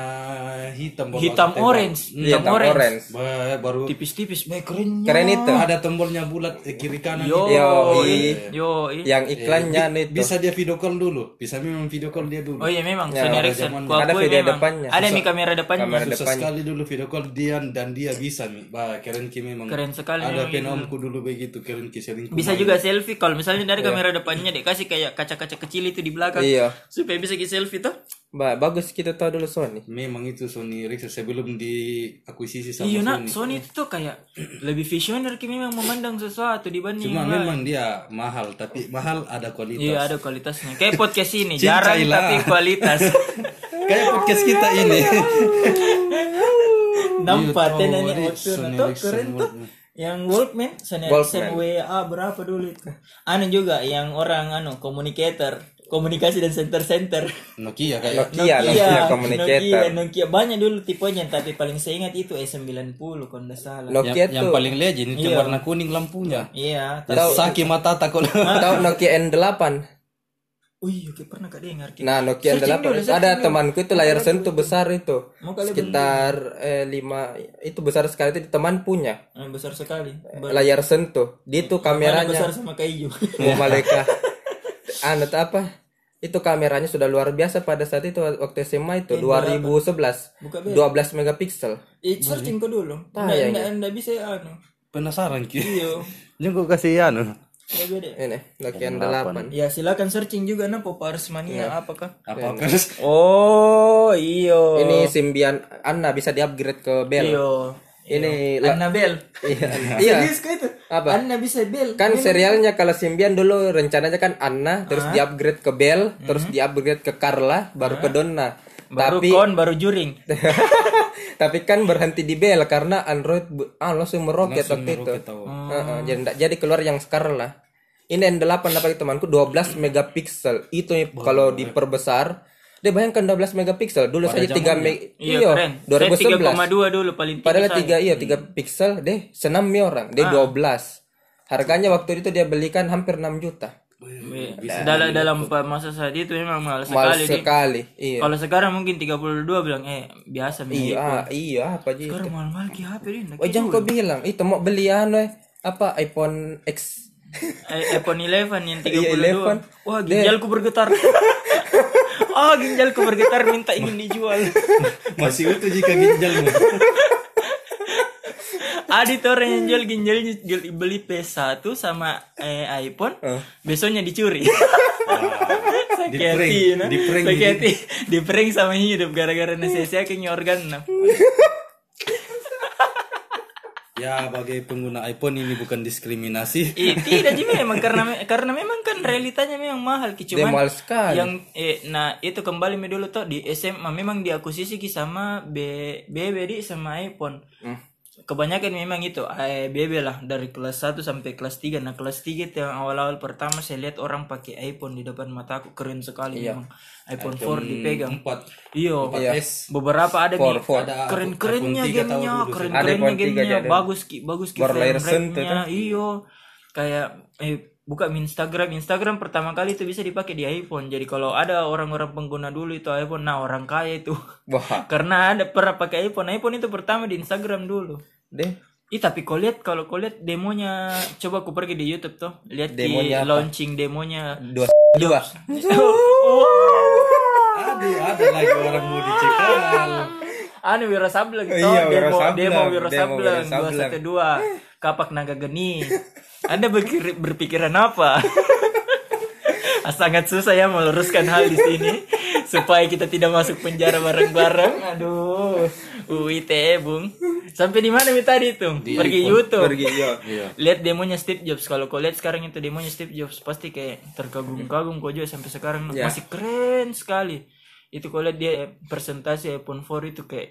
S2: hitam baru
S3: hitam
S2: aku tembak.
S3: orange
S1: Iya,
S3: hitam
S1: tam
S3: orange,
S1: orange.
S2: Ba- baru
S3: tipis-tipis baik keren
S1: Keren itu.
S2: ada tombolnya bulat eh, kiri kanan Iya.
S3: yo iya.
S1: Yo,
S3: i-
S1: i-
S3: yo i.
S1: Yang iklannya
S2: Eh, Bi-
S1: itu.
S2: bisa dia video call dulu bisa memang video call dia dulu
S3: oh iya memang
S1: Ya,
S3: Sony
S1: ada
S3: Ericsson
S2: zaman-
S3: Ku
S1: ada
S3: akui
S1: video
S3: memang.
S1: depannya.
S3: ada nih kamera depannya
S1: Kamera
S2: susah
S1: depannya.
S2: sekali dulu video call dia dan dia bisa nih bah keren ki memang
S3: keren sekali
S2: ada
S3: memang
S2: pen
S3: itu.
S2: omku dulu begitu keren ki sering ku
S3: bisa
S2: main.
S3: juga selfie kalau misalnya dari kamera depannya deh kasih kayak kaca-kaca kecil itu di belakang
S1: Iya.
S3: supaya bisa ke selfie tuh
S1: Ba- bagus kita tahu dulu Sony.
S2: memang itu Sony Ericsson sebelum diakuisisi sama
S3: Iya nak
S2: Sony
S3: Sony itu tuh kayak lebih visioner Ki memang memandang sesuatu dibanding
S2: cuma
S3: yang lain.
S2: memang dia mahal tapi mahal ada kualitas
S3: Iya ada kualitasnya. Kayak podcast ini
S2: Cincai
S3: jarang
S2: lah.
S3: tapi kualitas.
S2: kayak podcast kita
S3: Iya.
S2: ini Iya,
S3: Nampak ten
S2: tahu,
S3: ini
S2: adik,
S3: outdoor
S2: Sony
S3: tuh
S2: Ericsson
S3: keren tuh.
S2: Walkman.
S3: Yang Walkman, Sony
S1: Walkman.
S3: Ericsson WA berapa dulu itu? Anu juga yang orang anu communicator, komunikasi dan center center.
S2: Ya, Nokia kayak
S1: Nokia, Iya, Nokia Communicator.
S3: Nokia, Nokia banyak dulu tipenya tapi paling saya ingat itu S90 kalau nggak salah.
S1: Nokia
S2: yang, yang
S1: tuh
S2: paling legend itu warna kuning lampunya
S3: Iya, tapi
S2: Ya, Saki mata takut
S1: tahu Nokia N8.
S3: Wih, oke, pernah gak dengar Ki?
S1: Nah, Nokia N8 ada temanku itu layar sentuh besar itu.
S3: Mau kali
S1: Sekitar eh, 5 itu besar sekali itu teman punya
S3: Eh, besar sekali. Ber-
S1: layar sentuh. Dia tuh
S3: Mana
S1: kameranya
S3: besar sama kayu.
S1: mau malaikat anu tuh apa itu kameranya sudah luar biasa pada saat itu waktu SMA itu 2011
S3: Iya, Buka
S1: 12 megapiksel
S3: Eh, searching kau dulu. Nggak,
S1: Tayang,
S3: nggak, nggak bisa anu.
S2: penasaran ki
S3: Iya,
S2: jengko kasih anu
S3: nggak beda.
S1: ini Nokia N8
S3: Ya silakan searching juga nah Popars
S1: Iya.
S3: Mania apakah?
S2: apa terus
S3: Oh, Iya. iyo.
S1: ini Symbian Anna bisa diupgrade ke Bell
S3: Iyo.
S1: Iya. ini la-
S3: Annabel.
S1: iya iya
S3: Serius kau itu?
S1: Apa?
S3: Anna bisa bel.
S1: kan serialnya kalau Symbian dulu rencananya kan Anna terus diupgrade ke Bell terus diupgrade ke Carla baru ke Donna
S3: Mhm. Baru
S1: tapi
S3: kon, baru juring.
S1: tapi kan berhenti di Bell karena Android bu- ah langsung meroket waktu itu
S3: oh.
S1: Heeh, jadi nggak jadi keluar yang sekarang lah ini N8 apa itu temanku 12 megapiksel itu nih kalau diperbesar dia bayangkan 12 megapiksel dulu saja 3 me
S3: Iya,
S1: iyo,
S3: keren. Saya
S1: 2011
S3: 3,2 dulu paling tinggi.
S1: padahal 3 iya
S3: Hmm.
S1: 3 piksel deh senam mi orang
S3: Ah.
S1: dia 12 harganya waktu itu dia belikan hampir 6 juta
S3: Iya. Dalam dalam masa saat itu memang mahal sekali.
S1: mahal
S3: Di.
S1: sekali iya
S3: Kalau sekarang mungkin 32 bilang eh biasa Mi.
S1: iya iya apa aja
S3: Sekarang mahal-mahal ki HP ini. nak.
S1: Wajang kau bilang, itu mau beli anu eh, apa iPhone X.
S3: Eh, iPhone 11 yang 32
S1: Iya, 11.
S3: Wah ginjalku bergetar Ah ginjalku bergetar minta ingin dijual
S2: masih utuh jika ginjalmu
S3: Adit orang yang jual ginjalnya jual- beli P1 sama eh, iPhone
S1: Oh.
S3: Besoknya dicuri Sakit
S2: Di prank,
S3: hati, nah.
S2: di prank
S3: Sakit
S2: gitu.
S3: hati. Di prank sama hidup gara-gara nasihatnya ke organ nah.
S2: ya bagi pengguna iPhone ini bukan diskriminasi
S3: Eh, tidak sih memang karena karena memang kan realitanya memang mahal Ki.
S1: Dia
S3: cuman
S1: mahal sekali.
S3: yang eh, nah itu kembali mi dulu tuh di SMA memang diakuisisi ki sama B BB di sama iPhone. kebanyakan memang itu ABB lah dari kelas 1 sampai kelas 3 nah kelas 3 itu yang awal-awal pertama saya lihat orang pakai iPhone di depan mata aku keren sekali
S1: Iya.
S3: memang iPhone, 4 dipegang
S2: Empat.
S3: iyo
S1: Iya.
S2: S.
S3: eh, beberapa ada
S1: For-
S3: nih
S1: for.
S2: Ada
S3: keren kerennya
S2: iPhone 3 tahun
S3: gamenya
S2: dulu sih.
S3: keren
S1: Ada
S3: kerennya
S1: iPhone 3
S3: gamenya
S1: jadi.
S3: bagus ki bagus ki
S1: Baru lahir
S3: frame
S1: sen tuh, kan?
S3: rate-nya iyo kayak eh buka Instagram Instagram pertama kali itu bisa dipakai di iPhone jadi kalau ada orang-orang pengguna dulu itu iPhone nah orang kaya itu
S1: Wah,
S3: karena ada pernah pakai iPhone iPhone itu pertama di Instagram dulu
S1: deh.
S3: Ih tapi kau lihat kalau kau lihat demonya coba aku pergi di YouTube tuh lihat di
S1: Demonya apa?
S3: launching demonya Oh.
S1: Dua dua.
S2: Aduh, ada lagi orang mau dicekal.
S3: anu Wira Sableng tuh
S1: Iya, Wira
S3: demo
S1: Sableng.
S3: demo Wira
S1: Demo Wira
S3: Sableng dua
S1: Sableng.
S3: kapak naga geni Anda berpikir, berpikiran apa sangat susah ya meluruskan hal di sini supaya kita tidak masuk penjara bareng-bareng aduh UITE bung sampai di mana Mi tadi itu pergi YouTube
S1: Pergi yo.
S3: lihat demonya Steve Jobs kalau kau lihat sekarang itu demonya Steve Jobs pasti kayak terkagum-kagum kau juga sampai sekarang masih keren sekali itu kalau lihat dia presentasi iPhone 4 itu kayak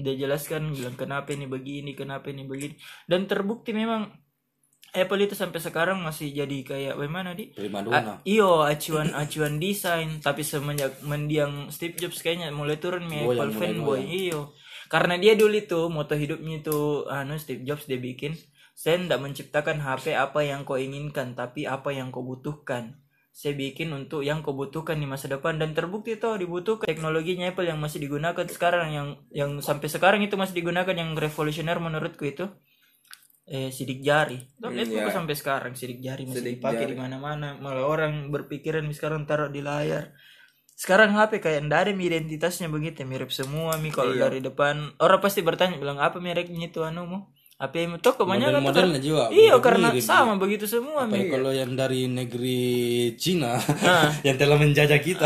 S3: dia jelaskan bilang kenapa ini begini kenapa ini begini dan terbukti memang Apple itu sampai sekarang masih jadi kayak bagaimana di
S2: Prima donna.
S3: A- Ah, iyo acuan acuan desain tapi semenjak mendiang Steve Jobs kayaknya mulai turun mi
S2: Goyang,
S3: Apple
S2: mulai
S3: fanboy
S2: goyang.
S3: iyo karena dia dulu itu moto hidupnya itu anu Steve Jobs dia bikin saya tidak menciptakan HP apa yang kau inginkan tapi apa yang kau butuhkan saya bikin untuk yang kau butuhkan di masa depan dan terbukti toh dibutuhkan teknologinya Apple yang masih digunakan sekarang yang yang sampai sekarang itu masih digunakan yang revolusioner menurutku itu eh sidik jari. Tuh
S1: Hmm,
S3: lihat
S1: iya.
S3: buku sampai sekarang sidik jari masih
S1: Sidik
S3: dipakai
S1: jari.
S3: di mana-mana. Malah orang berpikiran sekarang taruh di layar. Sekarang HP kayak ndak ada mi identitasnya begitu mirip semua mi kalau
S1: Iya.
S3: dari depan orang pasti bertanya bilang apa mereknya itu anu mu? Apa yang tuh kebanyakan tuh
S2: Model-modelnya
S3: karena-
S2: juga.
S3: Iya
S2: mirip-mirip.
S3: karena
S1: gitu.
S3: sama begitu semua
S2: Tapi
S3: mi.
S2: ya, kalau yang dari negeri Cina
S3: Ah.
S2: yang telah menjajah kita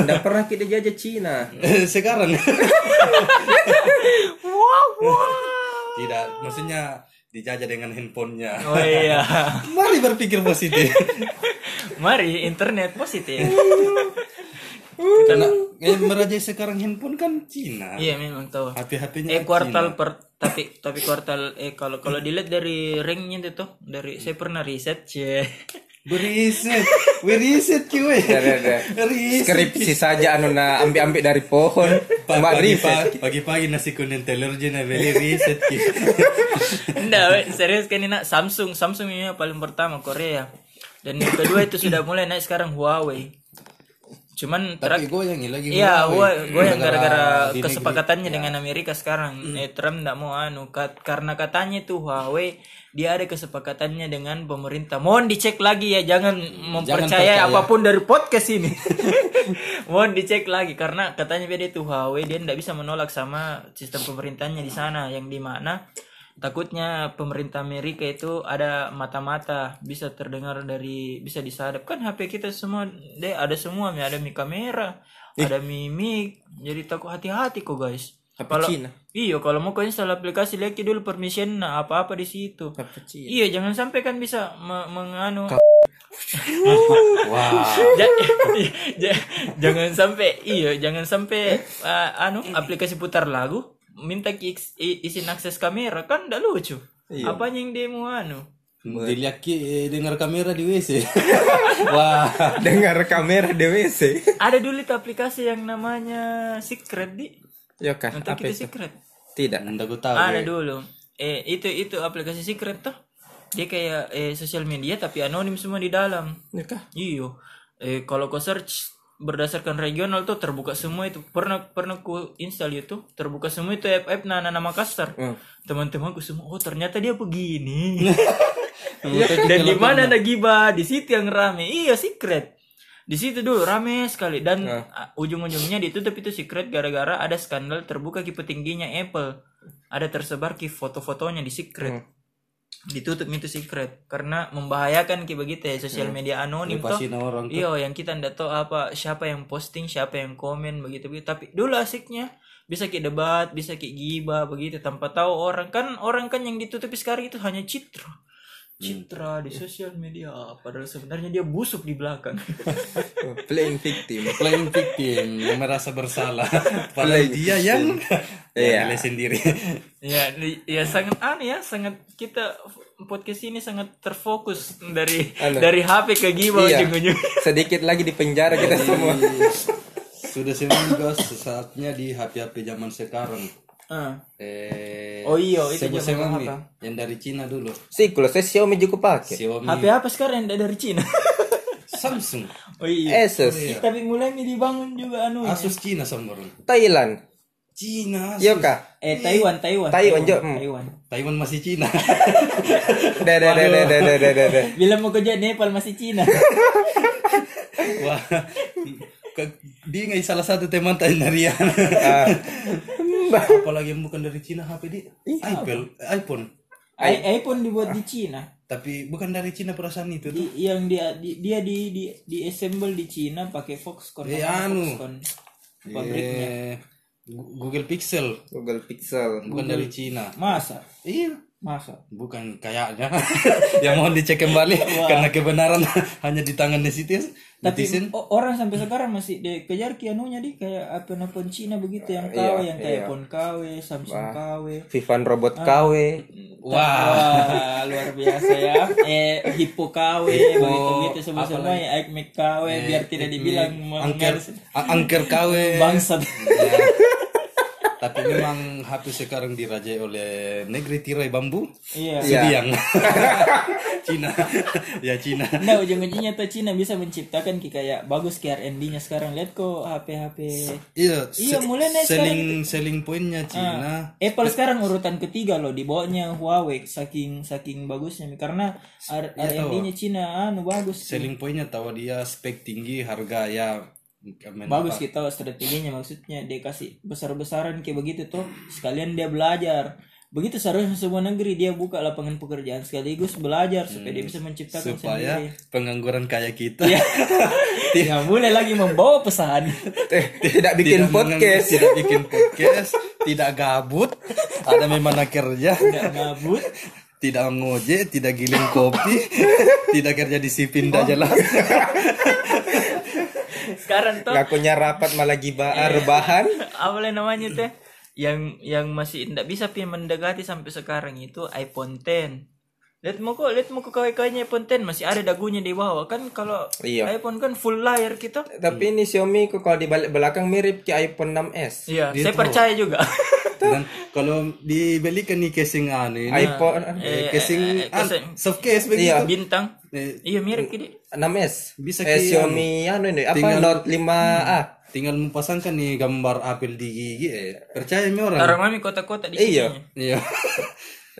S1: Nggak pernah kita jajah Cina.
S2: sekarang
S3: Wow, wow.
S2: tidak maksudnya dijajah dengan handphonenya
S3: Oh iya.
S2: mari berpikir positif
S3: Mari internet positif.
S2: karena eh, merajai sekarang handphone kan Cina
S3: iya memang tahu.
S2: hati-hatinya
S3: eh kuartal per tapi tapi kuartal eh kalau kalau dilihat dari ranknya itu tuh dari saya pernah riset cie
S2: beriset beriset cuy
S1: Ada- ada.
S2: beriset
S1: Skripsi saja anu na ambil-ambil dari pohon. Mak riset.
S2: pagi-pagi pagi-pagi nasi kuning telur je nak beli riset cuy
S3: enggak we, serius kan ini nak Samsung Samsung ini yang paling pertama Korea dan yang kedua itu sudah mulai naik sekarang Huawei cuman
S2: tapi
S3: terak
S2: gue yang lagi
S3: Iya,
S2: Huawei.
S3: gue gue yang gara-gara
S2: di negeri- Iya. Mm.
S3: kesepakatannya dengan Amerika sekarang, eh, Trump nggak mau anu kat- karena katanya tuh Huawei dia ada kesepakatannya dengan pemerintah. Mohon dicek lagi ya, jangan mempercayai
S2: percaya.
S3: apapun dari podcast ini. Mohon dicek lagi karena katanya dia tuh Huawei dia nggak bisa menolak sama sistem pemerintahnya di sana yang di mana takutnya pemerintah Amerika itu ada mata-mata bisa terdengar dari bisa disadap kan HP kita semua deh ada semua mi ada mi kamera
S1: Eh.
S3: ada mi mic jadi takut hati-hati kok guys
S1: HP
S3: kalau
S1: Cina.
S3: iyo kalau mau kau install aplikasi lihat dulu permission nah apa-apa di situ
S1: Apa Cina?
S3: iya jangan sampai kan bisa me- menganu
S2: wah
S3: Ja- ja- jangan sampai iya jangan sampai uh, anu aplikasi putar lagu minta kiks- i- izin akses kamera kan ndak lucu
S1: Iya.
S3: apanya yang demo anu
S2: dilihat ki- dengar kamera di WC wah
S1: Dengar kamera di WC.
S3: ada dulu tuh aplikasi yang namanya secret di
S1: Yo Ya kah,
S3: nanti
S1: apa
S3: kita
S1: itu? Ah, iya,
S3: secret
S1: Tidak.
S2: anda gue tahu
S3: ada
S2: gue.
S3: dulu eh itu itu aplikasi secret tuh dia kayak eh sosial media tapi anonim semua di dalam
S1: Yo Ya kah?
S3: Iyo, eh kalau kau search berdasarkan regional tuh terbuka semua itu. Pernah pernah ku install YouTube, terbuka semua itu app app nana nama Makassar. Teman-temanku semua, oh ternyata dia begini. Dan
S2: Iya,
S3: di mana ada gibah, di situ yang rame. Iya, secret. Di situ dulu rame sekali dan ah, ujung-ujungnya ditutup itu secret gara-gara ada skandal terbuka ki petingginya Apple. Ada tersebar ki foto-fotonya di secret. Ditutup itu secret karena membahayakan ki begitu ya sosial media anonim toh.
S2: Lepasin orang tuh.
S3: Iya, yang kita ndak tahu apa siapa yang posting, siapa yang komen begitu begitu. Tapi dulu asiknya bisa kayak debat, bisa kayak gibah begitu tanpa tahu orang kan orang kan yang ditutupi sekarang itu hanya citra. citra di sosial media padahal sebenarnya dia busuk di belakang
S1: playing Oh, victim
S2: playing victim yang merasa bersalah padahal
S1: Playing
S2: dia yang
S1: Iya.
S2: yang nilai sendiri
S3: ya di- ya sangat aneh ya sangat kita podcast ini sangat terfokus dari
S1: Anu.
S3: dari HP ke Giba
S1: Iya.
S3: ujung-ujung
S1: sedikit lagi di penjara
S2: Iya.
S1: kita semua
S2: sudah seminggu guys saatnya di HP HP zaman sekarang
S3: Ah.
S2: eh
S3: Oh iya, itu
S2: sebut
S3: zaman
S2: sebut nih,
S3: apa?
S2: yang dari Cina dulu
S1: siklus saya Xiaomi juga pakai
S2: Xiaomi
S3: HP apa sekarang yang dari Cina
S2: Samsung
S3: oh iya
S1: Asus
S3: tapi mulai nih dibangun juga anu
S2: Asus Cina sambar
S1: Thailand Ya
S2: Cina Asus.
S1: Yoka
S3: eh Taiwan Taiwan
S1: Taiwan, Jo. Hmm.
S3: Taiwan
S2: Taiwan masih Cina
S1: Dah, dah, dah, dah, dah, dah, dah, dah, dah.
S3: bila mau kerja Nepal masih Cina
S2: wah ke- dia nggak salah satu teman tanya dari Rian.
S1: Ah,
S2: apalagi yang bukan dari Cina HP di
S3: Iya.
S2: iPhone iPhone
S3: I- iPhone dibuat di Cina
S2: tapi bukan dari Cina perasaan itu tuh
S3: Di- yang dia di, dia di di di assemble di Cina pakai Foxconn
S2: Eh,
S3: namanya
S2: anu.
S3: Foxconn Iya. pabriknya
S2: Eh, Gu- Google Pixel
S1: Google Pixel
S2: bukan dari Cina
S3: masa
S2: iya
S3: masa
S2: bukan kayaknya yang mohon dicek kembali karena kebenaran hanya di tangan netizen
S3: tapi
S2: netizen
S3: o- orang sampai sekarang masih dikejar kianunya di kayak apa nelfon Cina begitu yang kawe yang kayak iPhone kawe Samsung kawe
S1: Vivan robot KW
S2: wah
S3: Wah, luar biasa ya. Eh, hippo KW, begitu-begitu semua-semua ya, Mac KW,
S2: Eh,
S3: biar tidak dibilang
S2: angker
S3: mengalir
S2: a- angker kawe
S3: bangsat.
S2: Ya. tapi memang HP sekarang dirajai oleh negeri tirai bambu
S3: Iya.
S2: Sidiang Cina ya Cina
S3: Nah ujung-ujungnya tuh Cina bisa menciptakan ki- kayak bagus ki R&D-nya sekarang lihat kok HP-HP
S2: Iya,
S3: Iya,
S2: se-
S3: mulai naik Ah.
S2: selling selling pointnya Cina.
S3: Apple sekarang urutan ketiga loh di bawahnya Huawei saking saking bagusnya Mi. karena R- R&D-nya Cina anu bagus Ki.
S2: Selling pointnya tahu dia spek tinggi, harga ya men-
S3: bagus kita strateginya maksudnya dia kasih besar-besaran kayak begitu tuh sekalian dia belajar begitu seharusnya semua negeri dia buka lapangan pekerjaan sekaligus belajar supaya dia bisa menciptakan
S2: supaya
S3: sendiri
S2: pengangguran kayak kita
S3: Iya. yang mulai lagi membawa pesan
S1: Eh, tidak bikin
S2: tidak
S1: podcast
S2: mengang- tidak bikin podcast, tidak gabut, ada memang nak kerja,
S3: nggak ngabut
S2: tidak ngojek, tidak giling kopi, tidak kerja di
S1: Oh.
S2: Sipinda aja lah.
S3: sekarang tuh
S1: ngakunya rapat malah
S2: Iya.
S1: gibah rebahan
S3: apa lah namanya teh yang yang masih tidak bisa pi mendekati sampai sekarang itu iPhone 10 lihat mau kok lihat mau kok kawan-kawannya iPhone 10 masih ada dagunya di bawah kan kalau
S1: Iya.
S3: iPhone kan full layar kita
S1: tapi
S2: Iya.
S1: ini Xiaomi kok kalau di balik belakang mirip ke iPhone 6s
S3: iya saya percaya juga
S2: Dan kalau dibelikan nih casing aneh, ini,
S1: iPhone
S2: eh, casing, ah,
S3: casing.
S2: soft case begitu.
S3: bintang
S2: Eh,
S3: iya mirip gini
S1: 6s
S2: Bisa
S1: eh,
S2: kayak
S1: Xiaomi anu ini apa
S2: Tinggal- Hmm.
S1: Note 5a
S2: tinggal mempasangkan nih gambar apel di gigi eh. percaya nih orang
S3: orang mami kota-kota di
S1: Iya.
S3: sini
S2: iya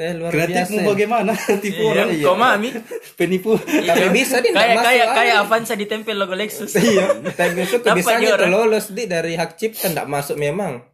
S1: eh luar biasa
S2: kreatifmu bagaimana tipu orang
S3: iya kau mami
S2: penipu
S1: tapi bisa dia tidak
S3: kayak
S1: masuk
S3: kayak
S1: ah.
S3: kayak Avanza ditempel logo Lexus
S1: iya tapi itu
S3: Apa
S1: bisa
S3: dia
S1: gitu
S3: orang?
S1: lolos di dari hak cipta tidak masuk memang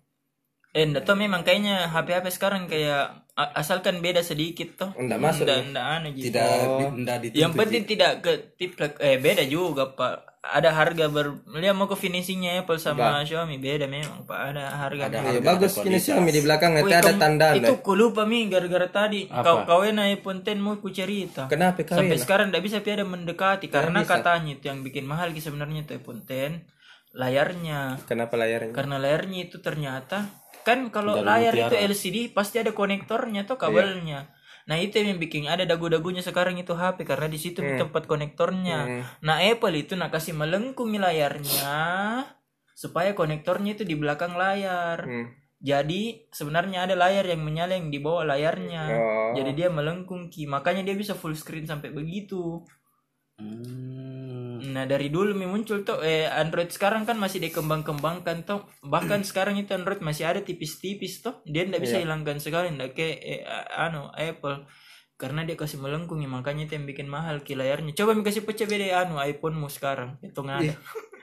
S3: eh enggak tau memang kayaknya HP-HP sekarang kayak a- asalkan beda sedikit toh
S1: Nggak masuk,
S3: Nggak- nggak aneh gitu
S2: tidak
S1: Oh.
S2: tidak dituntut
S3: Yang penting tidak ke tiplek eh beda juga Pak. Ada harga ber lihat mau ke finishingnya ya, Apple sama Xiaomi beda memang Pak. Ada harga. Ada.
S1: Iya, bagus ini Xiaomi di belakang nanti ada tanda
S3: Itu ku lupa mi gara-gara tadi kau kawin iPhone 10 mau ku cerita.
S1: kenapa kau
S3: Sampai sekarang tidak bisa tiada mendekati karena katanya itu yang bikin mahal ki sebenarnya itu iPhone 10 layarnya.
S1: kenapa layarnya
S3: Karena layarnya itu ternyata kan kalau layar itu LCD pasti ada konektornya atau kabelnya. Nah itu yang bikin ada dagu-dagunya sekarang itu HP karena di situ tempat konektornya. Nah Apple itu nak kasih melengkungi layarnya supaya konektornya itu di belakang layar.
S1: Hmm.
S3: Jadi sebenarnya ada layar yang menyala yang di bawah layarnya. Jadi dia melengkung ki, makanya dia bisa full screen sampai begitu.
S2: Hmm.
S3: Nah dari dulu Mi muncul tuh eh, Android sekarang kan masih dikembang-kembangkan tuh bahkan sekarang itu Android masih ada tipis-tipis tuh dia tidak
S1: Iya.
S3: bisa hilangkan sekali tidak kayak eh, a- anu Apple karena dia kasih
S1: Iya.
S3: melengkung ya, makanya itu yang bikin mahal ki layarnya coba mi kasih pecah beda anu iPhone mu sekarang itu nggak ada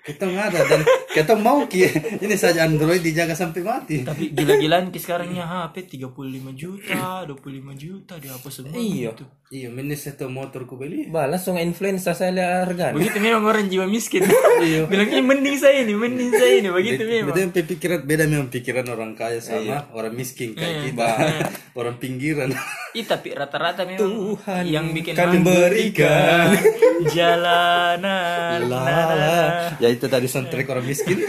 S2: kita nggak ada dan kita mau ki ini saja Android dijaga sampai mati
S3: Tapi gila-gilaan ki ya, sekarangnya HP 35 juta, 25 juta dihapus semua. gitu.
S1: Iya.
S3: begitu.
S2: iya ini satu motor ku beli
S1: Bah, langsung influencer saya lihat harga. nih.
S3: Begitu memang orang jiwa miskin.
S1: Iya.
S3: Bilangnya mending saya ini, mending saya ini, begitu memang.
S2: beda pikiran beda memang pikiran orang kaya sama orang miskin kayak kita orang pinggiran
S3: Ih, tapi rata-rata memang
S1: Tuhan
S3: yang bikin
S1: kan
S3: mangga.
S1: berikan.
S3: jalanan.
S2: La, la. ya itu tadi soundtrack orang miskin